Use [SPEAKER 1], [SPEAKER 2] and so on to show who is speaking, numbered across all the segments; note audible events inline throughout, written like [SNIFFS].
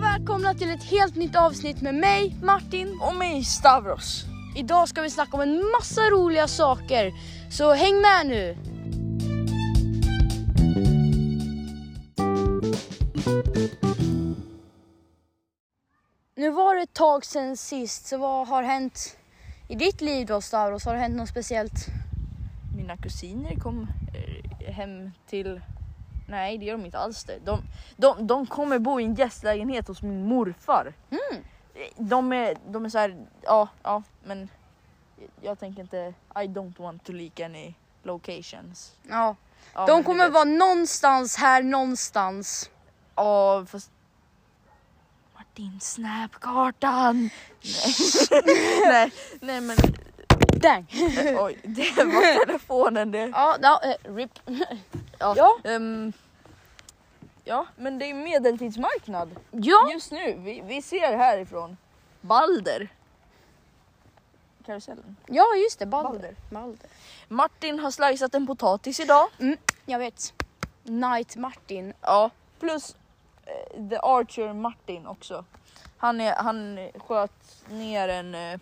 [SPEAKER 1] välkomna till ett helt nytt avsnitt med mig, Martin.
[SPEAKER 2] Och mig Stavros.
[SPEAKER 1] Idag ska vi snacka om en massa roliga saker, så häng med nu! Nu var det ett tag sedan sist, så vad har hänt i ditt liv då Stavros? Har det hänt något speciellt?
[SPEAKER 2] Mina kusiner kom eh, hem till... Nej det gör de inte alls det. De, de, de kommer bo i en gästlägenhet hos min morfar. Eh, De är, de är så här, ja, ja men jag tänker inte, I don't want to leak any locations.
[SPEAKER 1] Ja,
[SPEAKER 2] Ja, men
[SPEAKER 1] de
[SPEAKER 2] du
[SPEAKER 1] kommer
[SPEAKER 2] vet.
[SPEAKER 1] vara någonstans här någonstans.
[SPEAKER 2] Ja fast... Martin snapkartan! Nej. [LAUGHS] nej, nej men
[SPEAKER 1] Dang!
[SPEAKER 2] eh, oj, det var telefonen det.
[SPEAKER 1] Ja, ja eh, RIP.
[SPEAKER 2] Ja.
[SPEAKER 1] Ja.
[SPEAKER 2] ehm, ja, men det är medeltidsmarknad
[SPEAKER 1] Ja,
[SPEAKER 2] just nu. Vi, vi ser härifrån. Balder. Karusellen.
[SPEAKER 1] ja just det, Balder.
[SPEAKER 2] Balder.
[SPEAKER 1] Balder.
[SPEAKER 2] Martin har slicat en potatis idag.
[SPEAKER 1] Jag vet. Night Martin. [LAUGHS]
[SPEAKER 2] Ja. Plus eh, The Archer Martin också. Han, är, han sköt ner en, eh, en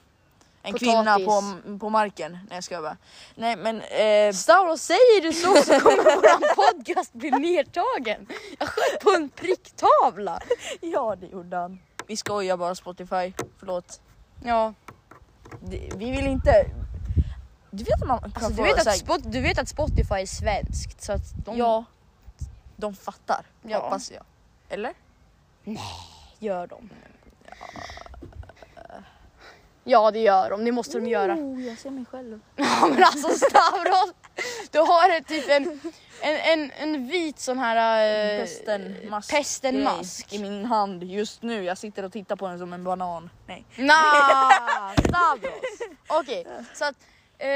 [SPEAKER 1] Potatis.
[SPEAKER 2] kvinna på, på marken. Nej jag skojar bara. Nej men... Eh,
[SPEAKER 1] Stavros, säger du så så kommer våran podcast bli nedtagen. Jag sköt på en pricktavla.
[SPEAKER 2] [LAUGHS] ja det gjorde han. Vi skojar bara Spotify. Förlåt.
[SPEAKER 1] Ja,
[SPEAKER 2] Det- Vi vill inte... Du vet att man kan
[SPEAKER 1] alltså, du,
[SPEAKER 2] få
[SPEAKER 1] vet
[SPEAKER 2] så
[SPEAKER 1] att
[SPEAKER 2] här,
[SPEAKER 1] Spot- du vet att Spotify är svenskt så att de
[SPEAKER 2] Ja. De fattar,
[SPEAKER 1] Ja.
[SPEAKER 2] hoppas jag. Eller?
[SPEAKER 1] gör dem. Ja det gör de, det måste de [LAUGHS] göra.
[SPEAKER 2] Oh, jag ser mig själv.
[SPEAKER 1] Ja, men alltså Stavros, du har en, typ en, en, en, en vit sån här... eh,
[SPEAKER 2] Pesten-mask.
[SPEAKER 1] Pestenmask.
[SPEAKER 2] I min hand just nu. Jag sitter och tittar på den som en banan. Nej.
[SPEAKER 1] Nah, Stavros. Okej, så att eh,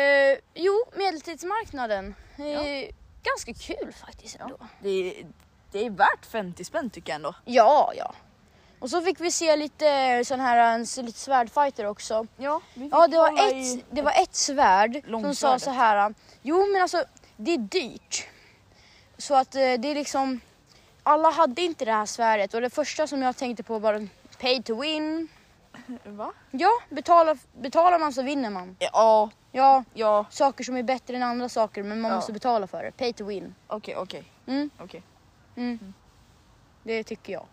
[SPEAKER 1] jo, medeltidsmarknaden. Eh, Ganska kul faktiskt ändå. Ja.
[SPEAKER 2] Det är, det är värt 50 spänn tycker jag ändå.
[SPEAKER 1] ja, Och så fick vi se lite eh, sån här, en, lite svärdfighter också.
[SPEAKER 2] Ja, vi
[SPEAKER 1] Ja, det var ett, det var ett svärd som sa
[SPEAKER 2] Långsvärdet.
[SPEAKER 1] så här. Jo, men alltså det är dyrt. Så att eh, det är liksom, alla hade inte det här svärdet och det första som jag tänkte på var pay to win.
[SPEAKER 2] Va?
[SPEAKER 1] Ja, betala, betalar man så vinner man.
[SPEAKER 2] Ja,
[SPEAKER 1] Ja,
[SPEAKER 2] ja.
[SPEAKER 1] saker som är bättre än andra saker men man
[SPEAKER 2] Ja.
[SPEAKER 1] måste betala för det. Pay to win.
[SPEAKER 2] Okej, okej.
[SPEAKER 1] Mm.
[SPEAKER 2] okej.
[SPEAKER 1] Det tycker jag.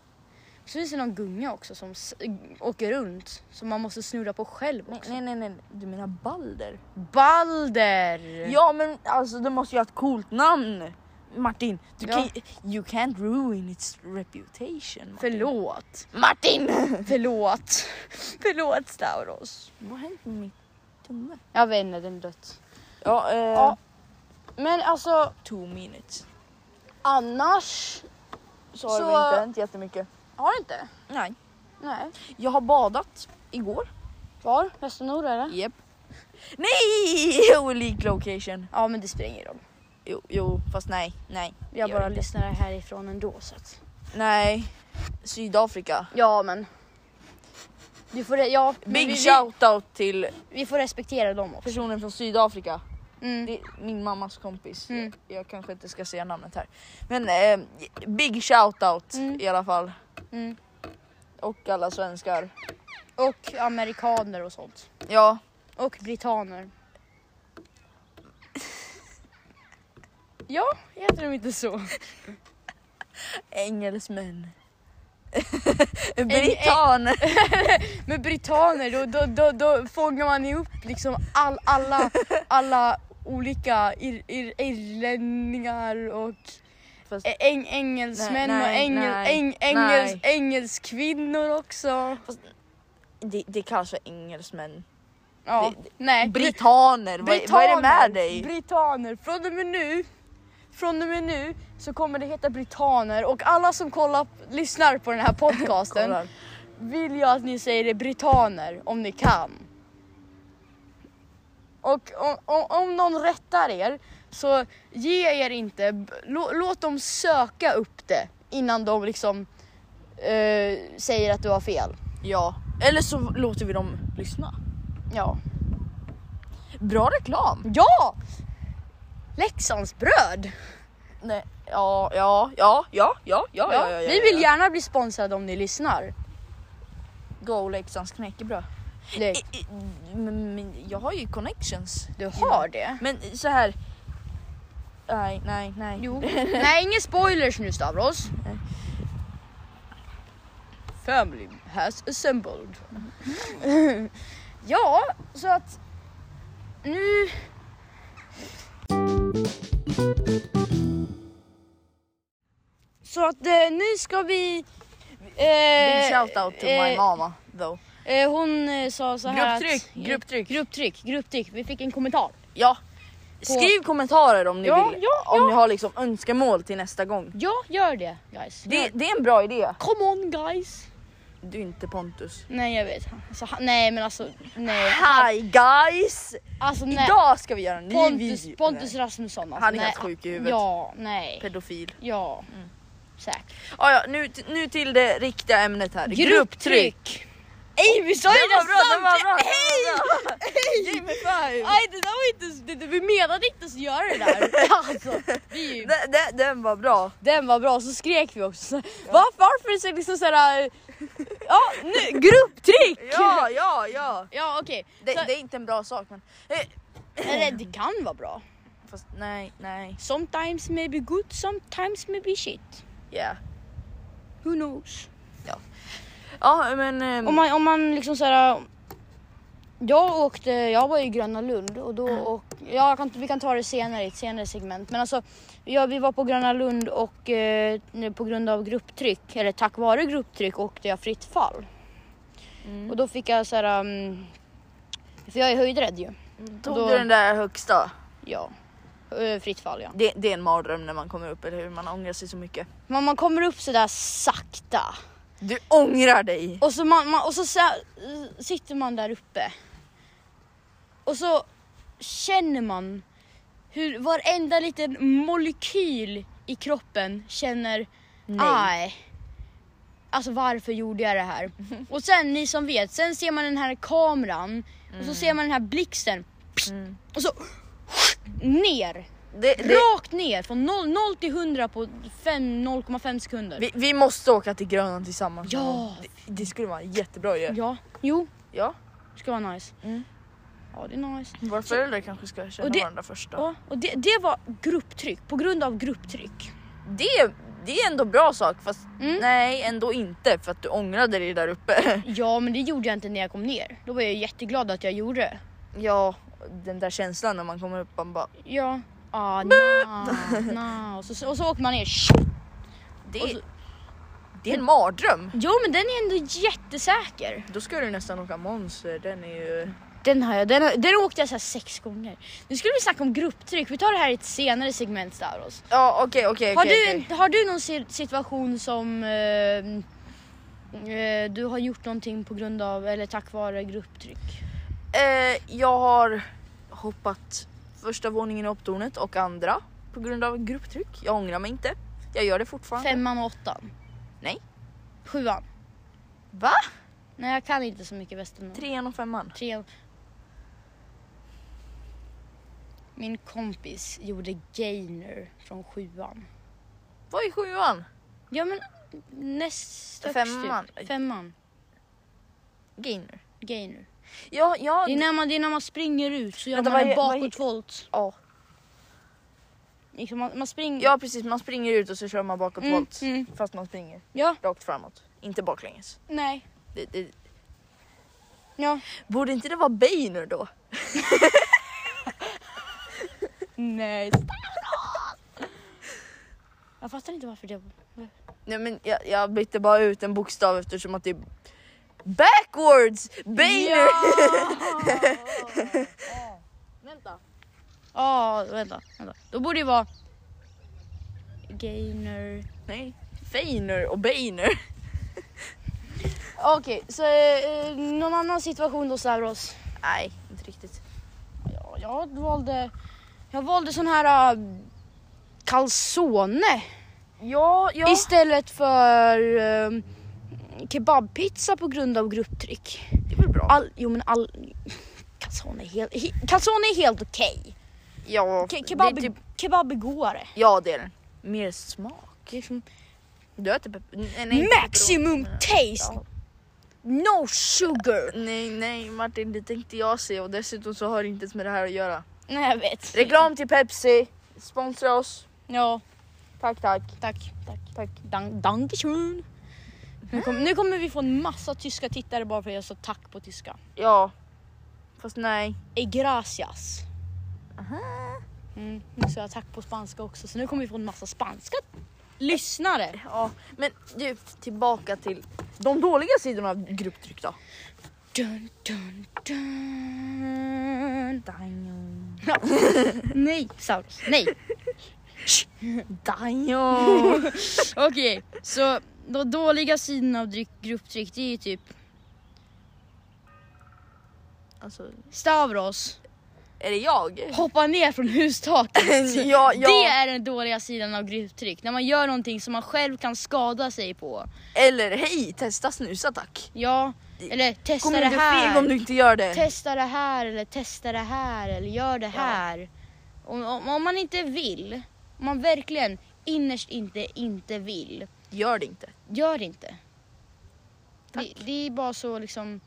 [SPEAKER 1] Så finns det någon gunga också som s- åker runt som man måste snurra på själv
[SPEAKER 2] Nej,
[SPEAKER 1] också.
[SPEAKER 2] nej, nej, nej. Du menar Balder?
[SPEAKER 1] Balder!
[SPEAKER 2] Ja men alltså det måste ju ha ett coolt namn. Martin, du
[SPEAKER 1] Ja.
[SPEAKER 2] kan, you can't ruin its reputation. Martin.
[SPEAKER 1] Förlåt.
[SPEAKER 2] Martin!
[SPEAKER 1] [LAUGHS] Förlåt. Förlåt Stavros.
[SPEAKER 2] Vad har hänt med min tumme?
[SPEAKER 1] Jag vet inte, den är dött.
[SPEAKER 2] Ja, eh,
[SPEAKER 1] Ja. Men alltså
[SPEAKER 2] two minutes.
[SPEAKER 1] annars
[SPEAKER 2] Så
[SPEAKER 1] har
[SPEAKER 2] har
[SPEAKER 1] det
[SPEAKER 2] det
[SPEAKER 1] väl inte
[SPEAKER 2] inte hänt jättemycket.
[SPEAKER 1] har det inte.
[SPEAKER 2] Nej.
[SPEAKER 1] Nej.
[SPEAKER 2] Jag har badat igår.
[SPEAKER 1] Var? Västernora eller?
[SPEAKER 2] Jep. Nej! [LAUGHS] Olik location.
[SPEAKER 1] Ja men det spelar ingen roll.
[SPEAKER 2] Jo, jo, fast nej, nej. det
[SPEAKER 1] Jag
[SPEAKER 2] gör
[SPEAKER 1] bara
[SPEAKER 2] det inte.
[SPEAKER 1] lyssnar härifrån ändå så att.
[SPEAKER 2] Nej. Sydafrika.
[SPEAKER 1] Ja men. Du får, re- ja, men
[SPEAKER 2] Big
[SPEAKER 1] vi, vi,
[SPEAKER 2] shoutout till
[SPEAKER 1] vi får respektera dem också.
[SPEAKER 2] personen från Sydafrika.
[SPEAKER 1] Mm.
[SPEAKER 2] Det är min mammas kompis.
[SPEAKER 1] Mm.
[SPEAKER 2] Jag, jag kanske inte ska säga namnet här. Men eh, big shoutout
[SPEAKER 1] Mm.
[SPEAKER 2] i alla fall.
[SPEAKER 1] Mm.
[SPEAKER 2] Och alla svenskar.
[SPEAKER 1] Och amerikaner och sånt.
[SPEAKER 2] Ja,
[SPEAKER 1] Och
[SPEAKER 2] [LAUGHS]
[SPEAKER 1] britaner. Ja, heter de inte så?
[SPEAKER 2] engelsmän. [LAUGHS] Britaner.
[SPEAKER 1] Men britaner, då, då, då, då fångar man ihop liksom all, alla, alla olika ir, ir, irlänningar och
[SPEAKER 2] Fast,
[SPEAKER 1] ä- äng, engelsmän
[SPEAKER 2] Nej, nej,
[SPEAKER 1] och ängel,
[SPEAKER 2] nej,
[SPEAKER 1] äng, engels,
[SPEAKER 2] nej.
[SPEAKER 1] engelskvinnor också.
[SPEAKER 2] det, det kallas för engelsmän.
[SPEAKER 1] Ja,
[SPEAKER 2] Det-
[SPEAKER 1] nej.
[SPEAKER 2] Britaner, Vad, vad är det med dig?
[SPEAKER 1] Britaner! Från och med nu, från och med nu så kommer det heta britaner och alla som kollar, lyssnar på
[SPEAKER 2] [LAUGHS]
[SPEAKER 1] den här podcasten
[SPEAKER 2] Kollar.
[SPEAKER 1] vill jag att ni säger det britaner om ni kan. Och om, om, om någon rättar er så ge er inte, B- lå, låt dem söka upp det innan de liksom eh, säger att du har fel.
[SPEAKER 2] Ja, eller så låter vi dem lyssna.
[SPEAKER 1] Ja.
[SPEAKER 2] Bra reklam.
[SPEAKER 1] Ja! Leksands bröd!
[SPEAKER 2] Nej, ja, ja, ja, ja, ja, ja, ja, ja, ja,
[SPEAKER 1] vi vill
[SPEAKER 2] ja.
[SPEAKER 1] gärna bli sponsrade om ni lyssnar.
[SPEAKER 2] gå och Leksands knäckebröd.
[SPEAKER 1] Det,
[SPEAKER 2] I- i- Men, men jag har ju connections.
[SPEAKER 1] du har det?
[SPEAKER 2] Men så här. Nej, nej, nej.
[SPEAKER 1] Jo. [LAUGHS]
[SPEAKER 2] [LAUGHS]
[SPEAKER 1] Nej, inga spoilers nu Stavros.
[SPEAKER 2] Nej.
[SPEAKER 1] Family has assembled. ja, så att nu... Så att eh, nu ska vi... Eh,
[SPEAKER 2] Big shout out to my
[SPEAKER 1] eh,
[SPEAKER 2] mama though.
[SPEAKER 1] Eh, hon eh, sa så här
[SPEAKER 2] Grupptryck,
[SPEAKER 1] att...
[SPEAKER 2] grupptryck.
[SPEAKER 1] Grupptryck, grupptryck. Vi fick en kommentar.
[SPEAKER 2] Ja. Skriv kommentarer om ni
[SPEAKER 1] Ja,
[SPEAKER 2] vill.
[SPEAKER 1] ja,
[SPEAKER 2] Om ni har liksom önskemål till nästa gång.
[SPEAKER 1] Ja, gör det guys.
[SPEAKER 2] Det,
[SPEAKER 1] Gör-
[SPEAKER 2] det är en bra idé.
[SPEAKER 1] Come on guys.
[SPEAKER 2] Du är inte Pontus.
[SPEAKER 1] Nej jag vet. Alltså, han- nej men alltså nej.
[SPEAKER 2] Hi guys!
[SPEAKER 1] Alltså nej.
[SPEAKER 2] Idag ska vi göra en ny
[SPEAKER 1] Pontus,
[SPEAKER 2] video.
[SPEAKER 1] Pontus
[SPEAKER 2] Nej,
[SPEAKER 1] Rasmusson. Alltså,
[SPEAKER 2] Han är
[SPEAKER 1] nej.
[SPEAKER 2] helt sjuk i huvudet. Mm.
[SPEAKER 1] Ja, nej.
[SPEAKER 2] Pedofil.
[SPEAKER 1] Ja. Säkert.
[SPEAKER 2] Ah, ja, nu, t- nu till det riktiga ämnet här.
[SPEAKER 1] Ej vi sa ju
[SPEAKER 2] Det var bra, det var bra!
[SPEAKER 1] sant! [LAUGHS]
[SPEAKER 2] Give me five!
[SPEAKER 1] Nej det där var inte, det, det- vi menade inte att göra det
[SPEAKER 2] [LAUGHS]
[SPEAKER 1] där. Alltså, vi,
[SPEAKER 2] Den, den, den var bra.
[SPEAKER 1] den var bra, så skrek vi också. Var, varför så liksom såhär... Ja, nu, grupptryck!
[SPEAKER 2] Ja, ja, ja.
[SPEAKER 1] Ja okej,
[SPEAKER 2] Det,
[SPEAKER 1] Så-
[SPEAKER 2] det är inte en bra sak men... Eh,
[SPEAKER 1] eller det kan vara bra.
[SPEAKER 2] Fast nej, nej.
[SPEAKER 1] Sometimes maybe good, sometimes maybe shit.
[SPEAKER 2] Yeah.
[SPEAKER 1] Who knows?
[SPEAKER 2] Ja men... ehm,
[SPEAKER 1] Om man, om man liksom såhär... Jag åkte, jag var i Gröna Lund och då och, ja, jag kan, vi kan ta det senare i ett senare segment. Men alltså, ja, vi var på Gröna Lund och eh, nu på grund av grupptryck, eller tack vare grupptryck åkte jag fritt fall.
[SPEAKER 2] Mm.
[SPEAKER 1] Och då fick jag såhär, um, för jag är höjdrädd ju.
[SPEAKER 2] Tog
[SPEAKER 1] då-
[SPEAKER 2] du den där högsta?
[SPEAKER 1] Ja. Eh, Fritt fall ja.
[SPEAKER 2] Det, det är en mardröm när man kommer upp, eller hur? Man ångrar sig så mycket.
[SPEAKER 1] Men man kommer upp sådär sakta.
[SPEAKER 2] Du ångrar dig!
[SPEAKER 1] Och så, man, man, och så, så eh, sitter man där uppe. Och så känner man hur varenda liten molekyl i kroppen känner
[SPEAKER 2] Nej.
[SPEAKER 1] aj. Alltså varför gjorde jag det
[SPEAKER 2] [LAUGHS]
[SPEAKER 1] här? Och sen ni som vet, sen ser man den här kameran och så ser man den här blixten
[SPEAKER 2] Mm.
[SPEAKER 1] och så [SNIFFS] ner.
[SPEAKER 2] Det, det,
[SPEAKER 1] Rakt ner från 0, 0 till 100 på fem- 0,5 sekunder.
[SPEAKER 2] vi, vi måste åka till Grönland tillsammans.
[SPEAKER 1] Ja.
[SPEAKER 2] någon gång. Det, det skulle vara en jättebra idé.
[SPEAKER 1] Ja, jo,
[SPEAKER 2] Ja.
[SPEAKER 1] ska vara nice.
[SPEAKER 2] Mm.
[SPEAKER 1] Ja, det är nice.
[SPEAKER 2] Våra föräldrar kanske ska känna
[SPEAKER 1] Och det-
[SPEAKER 2] varandra först då.
[SPEAKER 1] Ja, och det, det var grupptryck, på grund av grupptryck.
[SPEAKER 2] Det, det är ändå bra sak fast
[SPEAKER 1] Mm.
[SPEAKER 2] nej ändå inte för att du ångrade dig där uppe. [LAUGHS]
[SPEAKER 1] Ja, men det gjorde jag inte när jag kom ner. Då var jag jätteglad att jag gjorde det.
[SPEAKER 2] Ja, den där känslan när man kommer upp man bara
[SPEAKER 1] Ja. Ah, na, na. Och, så, och så åker man ner. Tjo!
[SPEAKER 2] det,
[SPEAKER 1] Och så-
[SPEAKER 2] det är en mardröm.
[SPEAKER 1] Jo, men den är ändå jättesäker.
[SPEAKER 2] Då ska du nästan åka monster, den är ju...
[SPEAKER 1] Den, har jag, den, har, den åkte jag så här sex gånger. Nu skulle vi snacka om grupptryck. Vi tar det här i ett senare segment Stavros.
[SPEAKER 2] Ja okej okej
[SPEAKER 1] Har,
[SPEAKER 2] okej.
[SPEAKER 1] du,
[SPEAKER 2] okej.
[SPEAKER 1] en- har du någon si- situation som eh, eh, du har gjort någonting på grund av eller tack vare grupptryck?
[SPEAKER 2] Eh, jag har hoppat första våningen i hopptornet och andra på grund av grupptryck. Jag ångrar mig inte. Jag gör det fortfarande.
[SPEAKER 1] Femman och åttan?
[SPEAKER 2] Nej.
[SPEAKER 1] Sjuan?
[SPEAKER 2] Va?
[SPEAKER 1] Nej jag kan inte så mycket västernorrländska.
[SPEAKER 2] Trean och femman.
[SPEAKER 1] Tre. Min kompis gjorde gainer från sjuan.
[SPEAKER 2] Vad är sjuan?
[SPEAKER 1] Ja men näst högst
[SPEAKER 2] Femman.
[SPEAKER 1] Typ. Femman.
[SPEAKER 2] Gainer.
[SPEAKER 1] Gainer.
[SPEAKER 2] Ja, ja.
[SPEAKER 1] Det är, när man, det är när man springer ut så gör
[SPEAKER 2] Vänta,
[SPEAKER 1] man
[SPEAKER 2] vad
[SPEAKER 1] en
[SPEAKER 2] he- vad he-
[SPEAKER 1] bakåtvolt.
[SPEAKER 2] ja.
[SPEAKER 1] Liksom man, man springer...
[SPEAKER 2] ja precis, man springer ut och så kör man
[SPEAKER 1] Mm,
[SPEAKER 2] bakåtvolt.
[SPEAKER 1] mm.
[SPEAKER 2] Fast man springer
[SPEAKER 1] ja.
[SPEAKER 2] rakt framåt, inte baklänges.
[SPEAKER 1] Nej.
[SPEAKER 2] Det, det...
[SPEAKER 1] Ja.
[SPEAKER 2] Borde inte det vara Bainer då?
[SPEAKER 1] Nej. Jag fattar inte varför det...
[SPEAKER 2] Nej men jag, jag bytte bara ut en bokstav eftersom att det är backwards! Bainer!
[SPEAKER 1] [LAUGHS] Vänta. Ja, vänta, vänta. Då borde det vara... Gainer...
[SPEAKER 2] Nej, Feiner och Bainer.
[SPEAKER 1] Okej, så eh, någon annan situation då Stavros?
[SPEAKER 2] Nej, inte riktigt.
[SPEAKER 1] Ja, jag valde... Jag valde sån här... Uh, calzone
[SPEAKER 2] Ja, ja.
[SPEAKER 1] istället för eh, kebabpizza på grund av grupptryck.
[SPEAKER 2] det är väl bra.
[SPEAKER 1] All, jo men all... Calzone är helt, he, calzone är helt okej.
[SPEAKER 2] Ja,
[SPEAKER 1] Ke,
[SPEAKER 2] det
[SPEAKER 1] kebab,
[SPEAKER 2] är typ...
[SPEAKER 1] kebab är godare.
[SPEAKER 2] ja det är den. Mer smak.
[SPEAKER 1] Det är som
[SPEAKER 2] Du äter pepp... nej, nej, inte pepperoni.
[SPEAKER 1] maximum taste!
[SPEAKER 2] Ja.
[SPEAKER 1] No sugar!
[SPEAKER 2] Nej, nej Martin, det tänkte jag se och dessutom så har det inte ens med det här att göra.
[SPEAKER 1] Nej jag vet.
[SPEAKER 2] Reklam till Pepsi, sponsra oss.
[SPEAKER 1] Ja,
[SPEAKER 2] Tack, tack.
[SPEAKER 1] tack. Tack. tack. Dank, dankeschön. Nu, kom, nu kommer vi få en massa tyska tittare bara för att jag sa tack på tyska.
[SPEAKER 2] Ja, fast nej.
[SPEAKER 1] E gracias. Mm, nu sa jag tack på spanska också så nu kommer vi få en massa spanska lyssnare.
[SPEAKER 2] Ja, men du, tillbaka till de dåliga sidorna av grupptryck då.
[SPEAKER 1] Dun, dun, dun. [LAUGHS] Nej, Saurus. Nej.
[SPEAKER 2] Dajo.
[SPEAKER 1] Okej, så de dåliga sidorna av dryck- grupptryck det är ju typ
[SPEAKER 2] [LAUGHS] Alltså,
[SPEAKER 1] Stavros,
[SPEAKER 2] är det jag?
[SPEAKER 1] hoppa ner från hustaket.
[SPEAKER 2] [LAUGHS] ja, ja.
[SPEAKER 1] Det är den dåliga sidan av grupptryck, när man gör någonting som man själv kan skada sig på.
[SPEAKER 2] Eller hej, testa snusa tack.
[SPEAKER 1] Ja, eller testa
[SPEAKER 2] Kommer
[SPEAKER 1] det
[SPEAKER 2] du feg
[SPEAKER 1] här.
[SPEAKER 2] om du inte gör det?
[SPEAKER 1] Testa det här eller testa det här eller gör det här. Om, om, om man inte vill, om man verkligen innerst inte inte vill,
[SPEAKER 2] Gör det inte.
[SPEAKER 1] gör det inte.
[SPEAKER 2] Tack.
[SPEAKER 1] Det, det är bara så liksom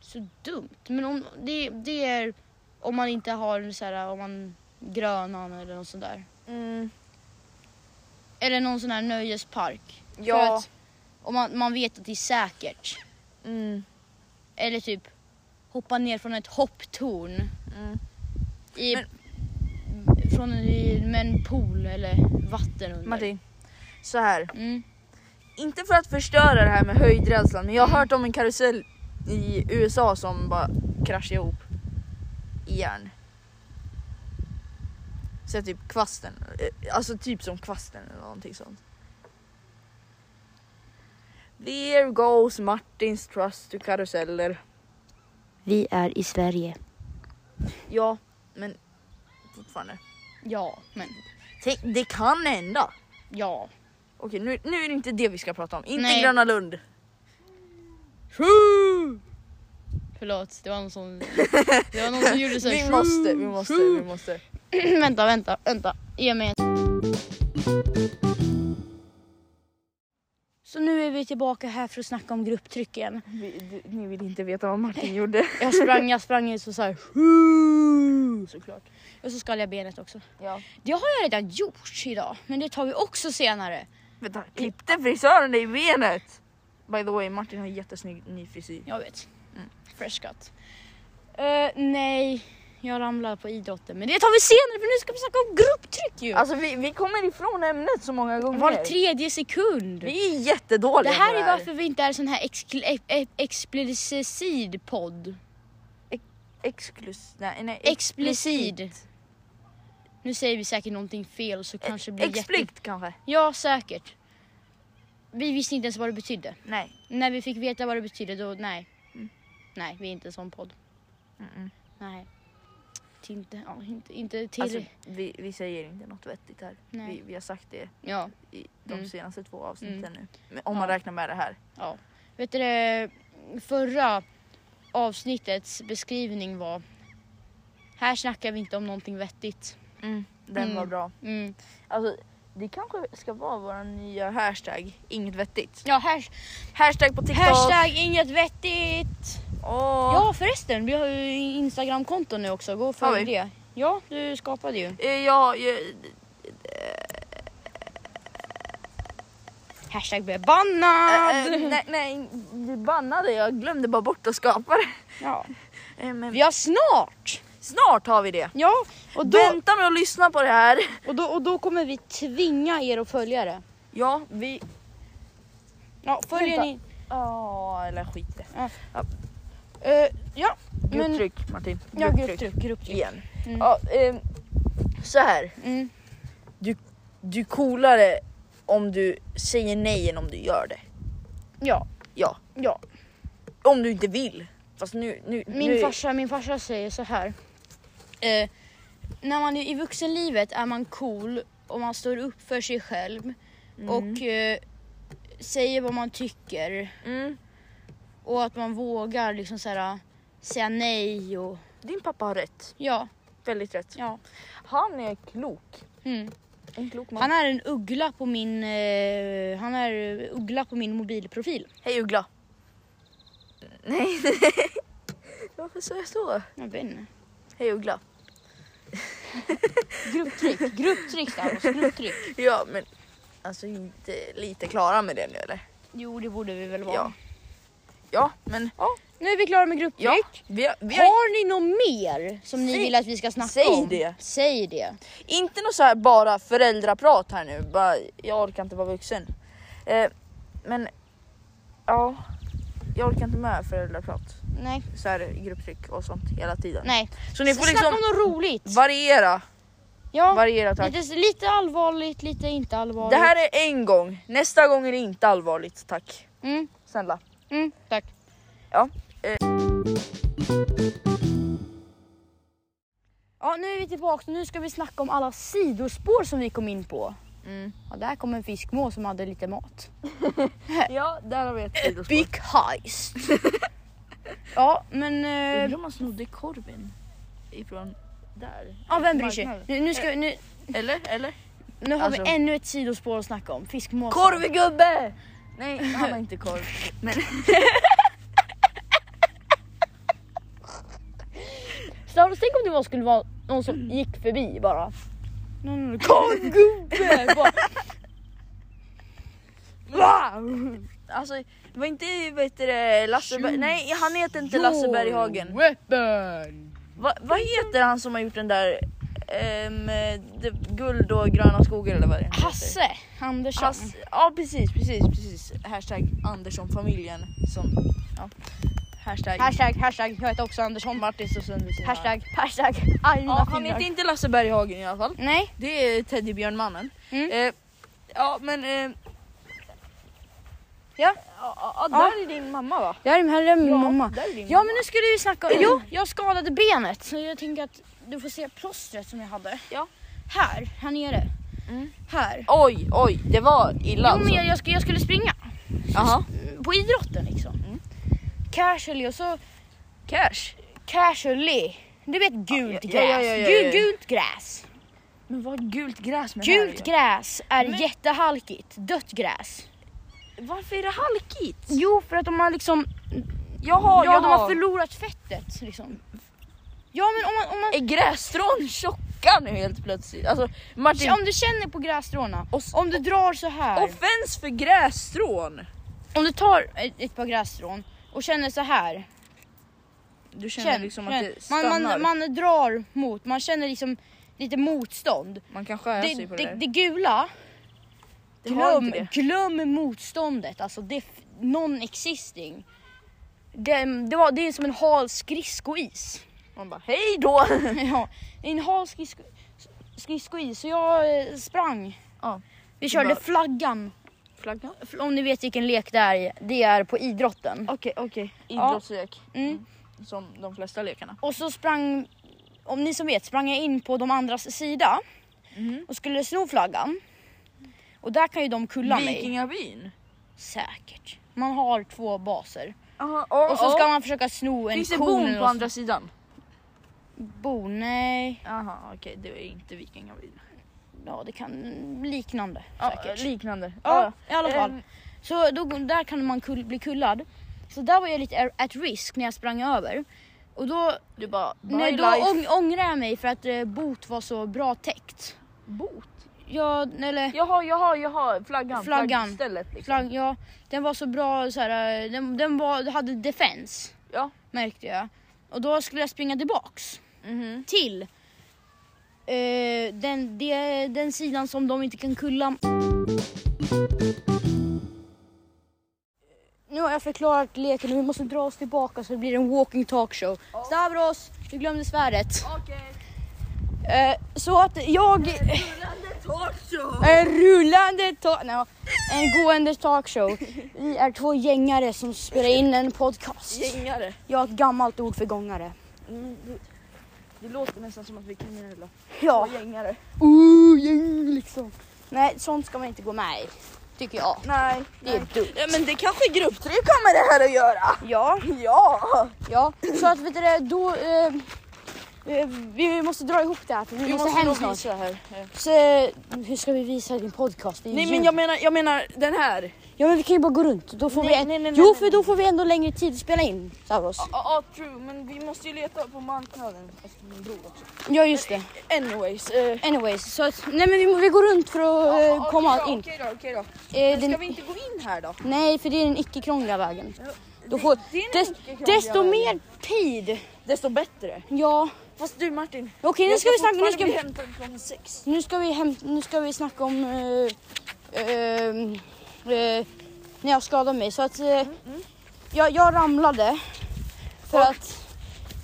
[SPEAKER 1] så dumt. Men om, det, det är om man inte har så här, om man grönan eller något sånt där.
[SPEAKER 2] Mm,
[SPEAKER 1] Eller någon sån här nöjespark. För
[SPEAKER 2] ja.
[SPEAKER 1] att om man, man vet att det är säkert.
[SPEAKER 2] Mm,
[SPEAKER 1] Eller typ hoppa ner från ett hopptorn.
[SPEAKER 2] mm.
[SPEAKER 1] I,
[SPEAKER 2] Men-
[SPEAKER 1] Från en, i- med en pool eller vatten under.
[SPEAKER 2] Martin, så här.
[SPEAKER 1] Mm.
[SPEAKER 2] Inte för att förstöra det här med höjdrädslan men jag har hört om en karusell i USA som bara kraschade ihop. Igen. Så typ kvasten, eh, alltså typ som kvasten eller någonting sånt. There goes Martins trust to karuseller.
[SPEAKER 1] Vi är i Sverige.
[SPEAKER 2] Ja, men fortfarande.
[SPEAKER 1] Ja, men
[SPEAKER 2] Tänk, det kan hända.
[SPEAKER 1] ja.
[SPEAKER 2] Okej, nu, nu är det inte det vi ska prata om. Inte
[SPEAKER 1] Nej.
[SPEAKER 2] Gröna Lund.
[SPEAKER 1] Förlåt, det var någon
[SPEAKER 2] [LAUGHS]
[SPEAKER 1] som, det var någon som gjorde så här,
[SPEAKER 2] Vi måste, vi måste, vi måste.
[SPEAKER 1] [LAUGHS] vänta, vänta, vänta. Ge mig en. Så nu är vi tillbaka här för att snacka om grupptryck igen.
[SPEAKER 2] Vi, du, ni vill inte veta vad Martin [LAUGHS] gjorde.
[SPEAKER 1] Jag sprang, jag sprang ut så såhär
[SPEAKER 2] Uh, Såklart.
[SPEAKER 1] och så skar jag benet också.
[SPEAKER 2] Ja.
[SPEAKER 1] Det har jag redan gjort idag, men det tar vi också senare.
[SPEAKER 2] Vänta, klippte frisören dig i benet? ah. By the way, Martin har jättesnygg ny frisyr.
[SPEAKER 1] Jag vet. Mm, Fresh cut. Eh, nej, jag ramlade på idrotten, men det tar vi senare för nu ska vi snacka om grupptryck ju.
[SPEAKER 2] Alltså vi, vi kommer ifrån ämnet så många gånger.
[SPEAKER 1] Var tredje sekund.
[SPEAKER 2] Vi är jättedåliga
[SPEAKER 1] Det här
[SPEAKER 2] på
[SPEAKER 1] är varför vi inte är sån här exkl- e- e- explicit podd.
[SPEAKER 2] Exklus... Nej, nej.
[SPEAKER 1] Explicit. Nu säger vi säkert någonting fel
[SPEAKER 2] E-
[SPEAKER 1] så kanske det blir jätte...
[SPEAKER 2] Explikt kanske?
[SPEAKER 1] Ja, säkert. Vi visste inte ens vad det betydde.
[SPEAKER 2] Nej.
[SPEAKER 1] När vi fick veta vad det betydde då, nej. Nej, vi är inte en sån podd.
[SPEAKER 2] Mm. Mm-mm.
[SPEAKER 1] Nej. Inte, ja, inte, inte till...
[SPEAKER 2] Alltså, vi, vi säger inte något vettigt här.
[SPEAKER 1] Nej.
[SPEAKER 2] Vi, vi har sagt det
[SPEAKER 1] ja,
[SPEAKER 2] i de
[SPEAKER 1] Mm.
[SPEAKER 2] senaste två avsnitten
[SPEAKER 1] Mm.
[SPEAKER 2] nu. Men om man
[SPEAKER 1] Ja.
[SPEAKER 2] räknar med det här.
[SPEAKER 1] ja. Vet du det, förra avsnittets beskrivning var... Här snackar vi inte om någonting vettigt.
[SPEAKER 2] Den var
[SPEAKER 1] Mm.
[SPEAKER 2] bra.
[SPEAKER 1] Mm.
[SPEAKER 2] Alltså, det kanske ska vara vår nya hashtag, inget vettigt.
[SPEAKER 1] Ja, här,
[SPEAKER 2] Hashtag på TikTok.
[SPEAKER 1] hashtag inget vettigt.
[SPEAKER 2] Och...
[SPEAKER 1] Ja förresten, vi har ju Instagramkonto nu också. Gå och
[SPEAKER 2] Har vi?
[SPEAKER 1] följ det. Ja, du skapade ju.
[SPEAKER 2] Eh, Ja, jag,
[SPEAKER 1] Hashtag bebannad.
[SPEAKER 2] eh, nej, nej, du bannade. Jag glömde bara bort att skapa det.
[SPEAKER 1] Ja.
[SPEAKER 2] Eh, Men
[SPEAKER 1] Vi har snart.
[SPEAKER 2] snart har vi det.
[SPEAKER 1] Ja, och då,
[SPEAKER 2] Vänta med att lyssna på det här.
[SPEAKER 1] och, då, och då kommer vi tvinga er att följa det.
[SPEAKER 2] Ja, vi...
[SPEAKER 1] Ja, följer
[SPEAKER 2] Vänta.
[SPEAKER 1] ni.
[SPEAKER 2] Ja, eller skit det.
[SPEAKER 1] Eh, ja, men...
[SPEAKER 2] Grupptryck, Martin.
[SPEAKER 1] Ja, grupptryck. grupptryck.
[SPEAKER 2] Igen.
[SPEAKER 1] Mm.
[SPEAKER 2] Ja, ehm, så här.
[SPEAKER 1] Mm.
[SPEAKER 2] Du är coolare om du säger nej än om du gör det.
[SPEAKER 1] Ja,
[SPEAKER 2] Ja.
[SPEAKER 1] ja.
[SPEAKER 2] Om du inte vill. Fast nu... nu nu,
[SPEAKER 1] Min, farsa, min farsa säger så här. Eh, när man är i vuxenlivet är man cool och man står upp för sig själv och eh, säger vad man tycker
[SPEAKER 2] Mm.
[SPEAKER 1] och att man vågar liksom så här, säga nej och
[SPEAKER 2] Din pappa har rätt.
[SPEAKER 1] ja,
[SPEAKER 2] Väldigt rätt.
[SPEAKER 1] ja.
[SPEAKER 2] Han är klok.
[SPEAKER 1] Mm.
[SPEAKER 2] En klok man.
[SPEAKER 1] Han är en uggla på min, eh, han är uggla på min mobilprofil.
[SPEAKER 2] Hej Uggla. Nej. [LAUGHS] Varför sa jag så?
[SPEAKER 1] Jag vet inte.
[SPEAKER 2] Hej Uggla.
[SPEAKER 1] Grupptryck, grupptryck Davos, grupptryck.
[SPEAKER 2] Ja men alltså inte lite klara med det nu eller?
[SPEAKER 1] Jo det borde vi väl vara.
[SPEAKER 2] Ja. Ja men
[SPEAKER 1] Nu är vi klara med
[SPEAKER 2] ja.
[SPEAKER 1] grupptryck.
[SPEAKER 2] Vi har, vi har
[SPEAKER 1] Har ni något mer som ni
[SPEAKER 2] Säg-
[SPEAKER 1] vill att vi ska snacka
[SPEAKER 2] säg
[SPEAKER 1] om?
[SPEAKER 2] det.
[SPEAKER 1] Säg det.
[SPEAKER 2] inte något så här bara föräldraprat här nu. Bara, jag orkar inte vara vuxen. Eh, men ja. Jag orkar inte med föräldraprat.
[SPEAKER 1] Nej.
[SPEAKER 2] Så här grupptryck och sånt hela tiden.
[SPEAKER 1] Nej.
[SPEAKER 2] Så ni får
[SPEAKER 1] Snacka
[SPEAKER 2] liksom
[SPEAKER 1] om något roligt.
[SPEAKER 2] variera.
[SPEAKER 1] Ja,
[SPEAKER 2] Variera tack.
[SPEAKER 1] lite, lite allvarligt, lite inte allvarligt.
[SPEAKER 2] Det här är en gång. Nästa gång är det inte allvarligt tack.
[SPEAKER 1] Mm,
[SPEAKER 2] Snälla.
[SPEAKER 1] mm, tack.
[SPEAKER 2] Ja.
[SPEAKER 1] Ja, nu är vi tillbaka nu ska vi snacka om alla sidospår som vi kom in på.
[SPEAKER 2] Mm.
[SPEAKER 1] Ja, där kom en fiskmås som hade lite mat.
[SPEAKER 2] Ja, där har vi ett sidospår.
[SPEAKER 1] Big
[SPEAKER 2] [LAUGHS]
[SPEAKER 1] heist. ja, men... eh,
[SPEAKER 2] Undrar om man snodde korven ifrån där.
[SPEAKER 1] ja, vem bryr sig?
[SPEAKER 2] Marknaden.
[SPEAKER 1] Nu, nu, ska, vi- nu,
[SPEAKER 2] Eller? Eller?
[SPEAKER 1] nu har
[SPEAKER 2] Alltså-
[SPEAKER 1] vi ännu ett sidospår att snacka om. Fiskmåsar.
[SPEAKER 2] Korvgubbe! Nej, han var inte korv. [LAUGHS] Men
[SPEAKER 1] Stavros, tänk om det var, skulle vara någon som gick förbi bara. Någon någon [LAUGHS] korvgubbe! bara.
[SPEAKER 2] alltså, det var inte vet du, det, Lasse Ber- Nej, han heter inte Lasse Berghagen.
[SPEAKER 1] Weapon!
[SPEAKER 2] Va, vad heter han som har gjort den där ehm, de, Guld och gröna skogar eller vad det heter?
[SPEAKER 1] Hasse Andersson.
[SPEAKER 2] Hasse. Alltså, Ja precis, precis, precis. Hashtag Anderssonfamiljen som... Ja. Hashtag.
[SPEAKER 1] Hashtag, hashtag, jag heter också Andersson.
[SPEAKER 2] Martin står sönder sina-
[SPEAKER 1] Hashtag, hashtag, aj mina
[SPEAKER 2] Ja, han
[SPEAKER 1] fingrar.
[SPEAKER 2] heter inte Lasse Berghagen i alla fall.
[SPEAKER 1] Nej,
[SPEAKER 2] Det är teddybjörnmannen.
[SPEAKER 1] Mm.
[SPEAKER 2] Eh, ja men... Eh,
[SPEAKER 1] Ja.
[SPEAKER 2] Ja, ja,
[SPEAKER 1] Ja.
[SPEAKER 2] där är din mamma va?
[SPEAKER 1] det här är- här är min mamma.
[SPEAKER 2] Där är din
[SPEAKER 1] Ja
[SPEAKER 2] mamma.
[SPEAKER 1] men nu skulle vi snacka om, jo jag skadade benet så jag tänker att du får se plåstret som jag hade.
[SPEAKER 2] Ja.
[SPEAKER 1] Här, här nere.
[SPEAKER 2] Mm.
[SPEAKER 1] Här. Alltså.
[SPEAKER 2] Oj, oj, det var illa alltså.
[SPEAKER 1] Jo men jag, jag, skulle, jag skulle springa
[SPEAKER 2] Jaha.
[SPEAKER 1] på idrotten liksom.
[SPEAKER 2] Mm.
[SPEAKER 1] Casually och så
[SPEAKER 2] Cash.
[SPEAKER 1] casually. Du vet gult
[SPEAKER 2] ja,
[SPEAKER 1] gräs.
[SPEAKER 2] ja, ja, ja, ja.
[SPEAKER 1] Gul, gult gräs.
[SPEAKER 2] Men vad gult gräs med
[SPEAKER 1] Gult gräs är
[SPEAKER 2] Men-
[SPEAKER 1] jättehalkigt. Dött gräs.
[SPEAKER 2] Varför är det halkigt?
[SPEAKER 1] Jo för att de har liksom
[SPEAKER 2] Jaha,
[SPEAKER 1] ja, de har
[SPEAKER 2] förlorat.
[SPEAKER 1] förlorat fettet liksom. Ja men om man, om man
[SPEAKER 2] Är grässtrån tjocka nu helt plötsligt? Alltså Martin,
[SPEAKER 1] om du känner på grässtråna,
[SPEAKER 2] Och s-
[SPEAKER 1] om du drar så här.
[SPEAKER 2] offens för grässtrån.
[SPEAKER 1] Om du tar ett, ett par grässtrån och känner så här.
[SPEAKER 2] Du känner
[SPEAKER 1] Känn,
[SPEAKER 2] liksom
[SPEAKER 1] känn.
[SPEAKER 2] att det stannar.
[SPEAKER 1] man,
[SPEAKER 2] Man,
[SPEAKER 1] man, man drar mot, man känner liksom lite motstånd.
[SPEAKER 2] kan skära
[SPEAKER 1] Det,
[SPEAKER 2] sig på
[SPEAKER 1] det,
[SPEAKER 2] det,
[SPEAKER 1] det gula,
[SPEAKER 2] Det har
[SPEAKER 1] glöm,
[SPEAKER 2] inte det.
[SPEAKER 1] glöm motståndet, alltså det är f- non-existing. Det, det, var, det är som en hal skridskois. [LAUGHS]
[SPEAKER 2] Man bara hej då.
[SPEAKER 1] ja, det är en hal skridsko, skridskois så jag eh, sprang.
[SPEAKER 2] Ja.
[SPEAKER 1] Vi
[SPEAKER 2] Du
[SPEAKER 1] körde
[SPEAKER 2] bara-
[SPEAKER 1] [LAUGHS] flaggan,
[SPEAKER 2] Flaggan?
[SPEAKER 1] F- om ni vet vilken lek det är, det är på idrotten.
[SPEAKER 2] Okej, okej.
[SPEAKER 1] Ja.
[SPEAKER 2] Idrottslek.
[SPEAKER 1] Mm.
[SPEAKER 2] Som de flesta lekarna.
[SPEAKER 1] Och så sprang, om ni som vet, sprang jag in på de andras sida
[SPEAKER 2] Mm.
[SPEAKER 1] och skulle sno flaggan. Och där kan ju de kulla mig.
[SPEAKER 2] Vikingabyn.
[SPEAKER 1] Säkert. Man har två baser.
[SPEAKER 2] Aha,
[SPEAKER 1] Och så ska man försöka sno en
[SPEAKER 2] Finns det
[SPEAKER 1] ko eller
[SPEAKER 2] bon
[SPEAKER 1] något
[SPEAKER 2] på andra
[SPEAKER 1] sånt.
[SPEAKER 2] sidan?
[SPEAKER 1] Bon, nej.
[SPEAKER 2] Jaha okej, det är inte vikingabyn.
[SPEAKER 1] Ja, det kan liknande
[SPEAKER 2] Ja,
[SPEAKER 1] säkert.
[SPEAKER 2] liknande.
[SPEAKER 1] ja, i alla fall.
[SPEAKER 2] Ehm,
[SPEAKER 1] Så då, där kan man kull, bli kullad. Så där var jag lite er- at risk när jag sprang över. Och då,
[SPEAKER 2] Du bara, bye
[SPEAKER 1] nej, då
[SPEAKER 2] life.
[SPEAKER 1] ång, ångrar jag mig för att eh, bot var så bra täckt.
[SPEAKER 2] Bot?
[SPEAKER 1] Jag, eller...
[SPEAKER 2] Jaha, jaha, jaha, flaggan.
[SPEAKER 1] Flaggan.
[SPEAKER 2] Flaggstället liksom.
[SPEAKER 1] Flagg, ja, den var så bra så här, eh, den, den var, hade defense
[SPEAKER 2] Ja.
[SPEAKER 1] märkte jag. Och då skulle jag springa tillbaks
[SPEAKER 2] Mhm.
[SPEAKER 1] till eh, den, det- den sidan som de inte kan kulla. Eh, Nu har jag förklarat leken och vi måste dra oss tillbaka så det blir en walking talk show. Stavros, du glömde svärdet.
[SPEAKER 2] Okej.
[SPEAKER 1] Eh, så att jag...
[SPEAKER 2] Okay.
[SPEAKER 1] En rullande talk... Nej, en gående talkshow. Vi är två gängare som spelar in en podcast.
[SPEAKER 2] Gängare.
[SPEAKER 1] Jag har ett gammalt ord för gångare.
[SPEAKER 2] Mm, det, det låter nästan som att vi är kriminella.
[SPEAKER 1] Ja.
[SPEAKER 2] Och Gängare.
[SPEAKER 1] Ooh, gäng, liksom. Nej, sånt ska man inte gå med i. Tycker jag.
[SPEAKER 2] Nej.
[SPEAKER 1] Det är dumt.
[SPEAKER 2] Ja, men det kanske grupptryck har med det här att göra.
[SPEAKER 1] Ja,
[SPEAKER 2] Ja.
[SPEAKER 1] ja. Så att vet du det, då... Eh, eh, vi måste dra ihop det här för vi, måste,
[SPEAKER 2] nog
[SPEAKER 1] hem snart.
[SPEAKER 2] visa här. Ja.
[SPEAKER 1] Så, eh, hur ska vi visa din podcast? Det är
[SPEAKER 2] Nej
[SPEAKER 1] ljud.
[SPEAKER 2] men jag menar, jag menar den här.
[SPEAKER 1] ja men vi kan ju bara gå runt. Då får vi
[SPEAKER 2] Nej,
[SPEAKER 1] en...
[SPEAKER 2] nej, nej,
[SPEAKER 1] jo
[SPEAKER 2] nej,
[SPEAKER 1] för då får vi ändå längre tid att spela in Stavros.
[SPEAKER 2] Ja, ja, true. Men vi måste ju leta på marknaden efter min bror också.
[SPEAKER 1] Ja just det.
[SPEAKER 2] Anyways. eh,
[SPEAKER 1] Anyways, så att, nej men vi, må- vi går runt för att eh,
[SPEAKER 2] ja, okej
[SPEAKER 1] komma
[SPEAKER 2] då,
[SPEAKER 1] in.
[SPEAKER 2] Okej då, okej då.
[SPEAKER 1] Eh,
[SPEAKER 2] Men
[SPEAKER 1] den-
[SPEAKER 2] Ska vi inte gå in här då?
[SPEAKER 1] Nej för det är den icke krångliga vägen. Då
[SPEAKER 2] Det-
[SPEAKER 1] får,
[SPEAKER 2] det är en
[SPEAKER 1] des,
[SPEAKER 2] mycket krångligare
[SPEAKER 1] desto
[SPEAKER 2] väg.
[SPEAKER 1] mer tid.
[SPEAKER 2] Desto bättre.
[SPEAKER 1] Ja.
[SPEAKER 2] Fast du Martin.
[SPEAKER 1] Okej nu
[SPEAKER 2] jag
[SPEAKER 1] ska vi snacka, nu
[SPEAKER 2] fortfarande
[SPEAKER 1] ska
[SPEAKER 2] bli
[SPEAKER 1] vi,
[SPEAKER 2] hämtad klockan sex.
[SPEAKER 1] nu ska vi, hem, nu ska vi snacka om eh, ehm, eh, när jag skadade mig. Så att eh, Jag, jag ramlade för
[SPEAKER 2] Mm, Och-
[SPEAKER 1] att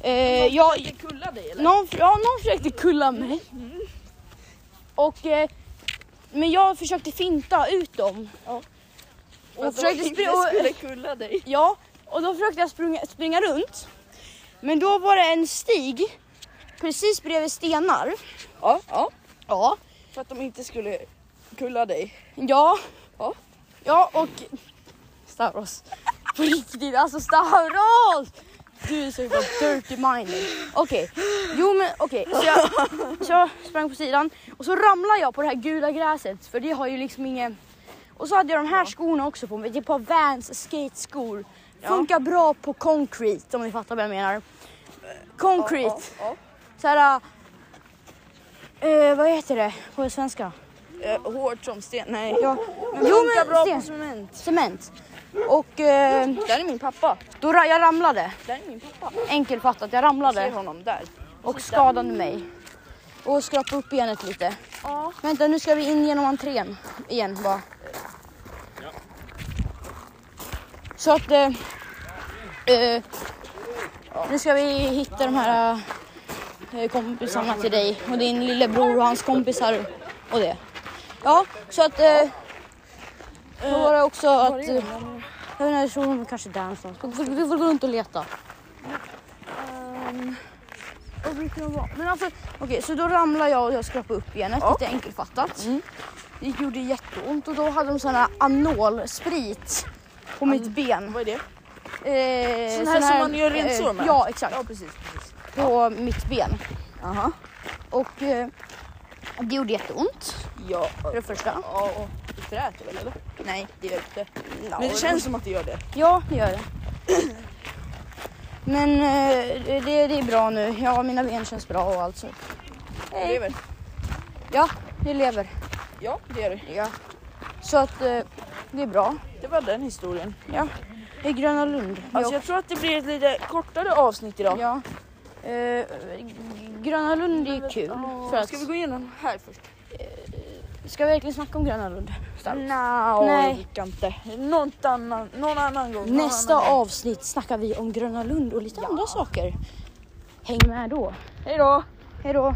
[SPEAKER 1] eh, jag,
[SPEAKER 2] Ska kulla dig eller?
[SPEAKER 1] Någon, ja, någon försökte kulla mig. Och, eh, men jag försökte finta ut dem.
[SPEAKER 2] Och
[SPEAKER 1] jag försökte
[SPEAKER 2] inte
[SPEAKER 1] springa- och-
[SPEAKER 2] [LAUGHS] skulle kulla dig.
[SPEAKER 1] Ja, och då försökte jag springa, springa runt. Men då var det en stig precis bredvid stenar.
[SPEAKER 2] Ja, ja.
[SPEAKER 1] Ja.
[SPEAKER 2] För att de inte skulle kulla dig.
[SPEAKER 1] Ja.
[SPEAKER 2] Ja.
[SPEAKER 1] Ja, och... Stavros. På riktigt, alltså Stavros! Du är så jävla dirty minded. Okej, jo men okej. Så, jag, så jag sprang på sidan och så ramlade jag på det här gula gräset för det har ju liksom ingen... Och så hade jag de här skorna också på mig, det är ett par Vans skateskor. Funkar bra på concrete om ni fattar vad jag menar. Concrete.
[SPEAKER 2] Ja, ja.
[SPEAKER 1] Såhär... eh, vad heter det på svenska?
[SPEAKER 2] Eh, hårt som sten. Nej.
[SPEAKER 1] Ja.
[SPEAKER 2] Men
[SPEAKER 1] Jo,
[SPEAKER 2] funkar
[SPEAKER 1] men
[SPEAKER 2] bra
[SPEAKER 1] sten.
[SPEAKER 2] på cement.
[SPEAKER 1] cement. Och eh,
[SPEAKER 2] Där är min pappa.
[SPEAKER 1] då ra- jag ramlade,
[SPEAKER 2] Där är min pappa.
[SPEAKER 1] enkelt fattat, jag
[SPEAKER 2] Jag ser
[SPEAKER 1] ramlade
[SPEAKER 2] honom där.
[SPEAKER 1] och skadade mig. Och skrapade upp benet lite.
[SPEAKER 2] Ja.
[SPEAKER 1] Vänta nu ska vi in genom entrén igen bara. Så att... Eh, eh, nu ska vi hitta de här eh, kompisarna till dig och din lillebror och hans kompisar och det. Ja, så att... Eh, då var det också att... eh, Jag vet inte, jag tror de är kanske där någonstans. Vi får, vi får gå runt och leta. Ehm, Vad brukar de vara? Men alltså, okej, så då ramlade jag och jag skrapade upp benet, lite enkelfattat. Det gjorde jätteont och då hade de sån här anolsprit på mitt ben.
[SPEAKER 2] Vad är det?
[SPEAKER 1] Eh,
[SPEAKER 2] Sån här som man gör rent sår med?
[SPEAKER 1] Ja, exakt.
[SPEAKER 2] precis. precis.
[SPEAKER 1] På mitt ben.
[SPEAKER 2] Aha.
[SPEAKER 1] Och eh, det gjorde jätteont,
[SPEAKER 2] Ja.
[SPEAKER 1] för det första.
[SPEAKER 2] ja och du frät väl eller? Nej det gör inte. Men det
[SPEAKER 1] det-
[SPEAKER 2] känns som att det gör det.
[SPEAKER 1] Ja, det gör det. Men eh, det, det är bra nu. Ja, mina ben känns bra och allt så.
[SPEAKER 2] Det lever.
[SPEAKER 1] Ja, det lever.
[SPEAKER 2] Ja det gör det.
[SPEAKER 1] Ja. Så att eh, det är bra.
[SPEAKER 2] Det var den historien.
[SPEAKER 1] Ja. I Gröna Lund.
[SPEAKER 2] Alltså jag tror att det blir ett lite kortare avsnitt idag.
[SPEAKER 1] Ja. Eh, Gröna Lund är ju kul. För att,
[SPEAKER 2] Ska vi gå igenom här först?
[SPEAKER 1] ska vi verkligen snacka om Gröna Lund? Starkt.
[SPEAKER 2] No,
[SPEAKER 1] Nej.
[SPEAKER 2] Nej, det orkar inte. Någon annan, någon annan gång. någon
[SPEAKER 1] Nästa
[SPEAKER 2] annan gång.
[SPEAKER 1] avsnitt snackar vi om Gröna Lund och lite andra saker. Häng med då.
[SPEAKER 2] Hej då!
[SPEAKER 1] Hej då.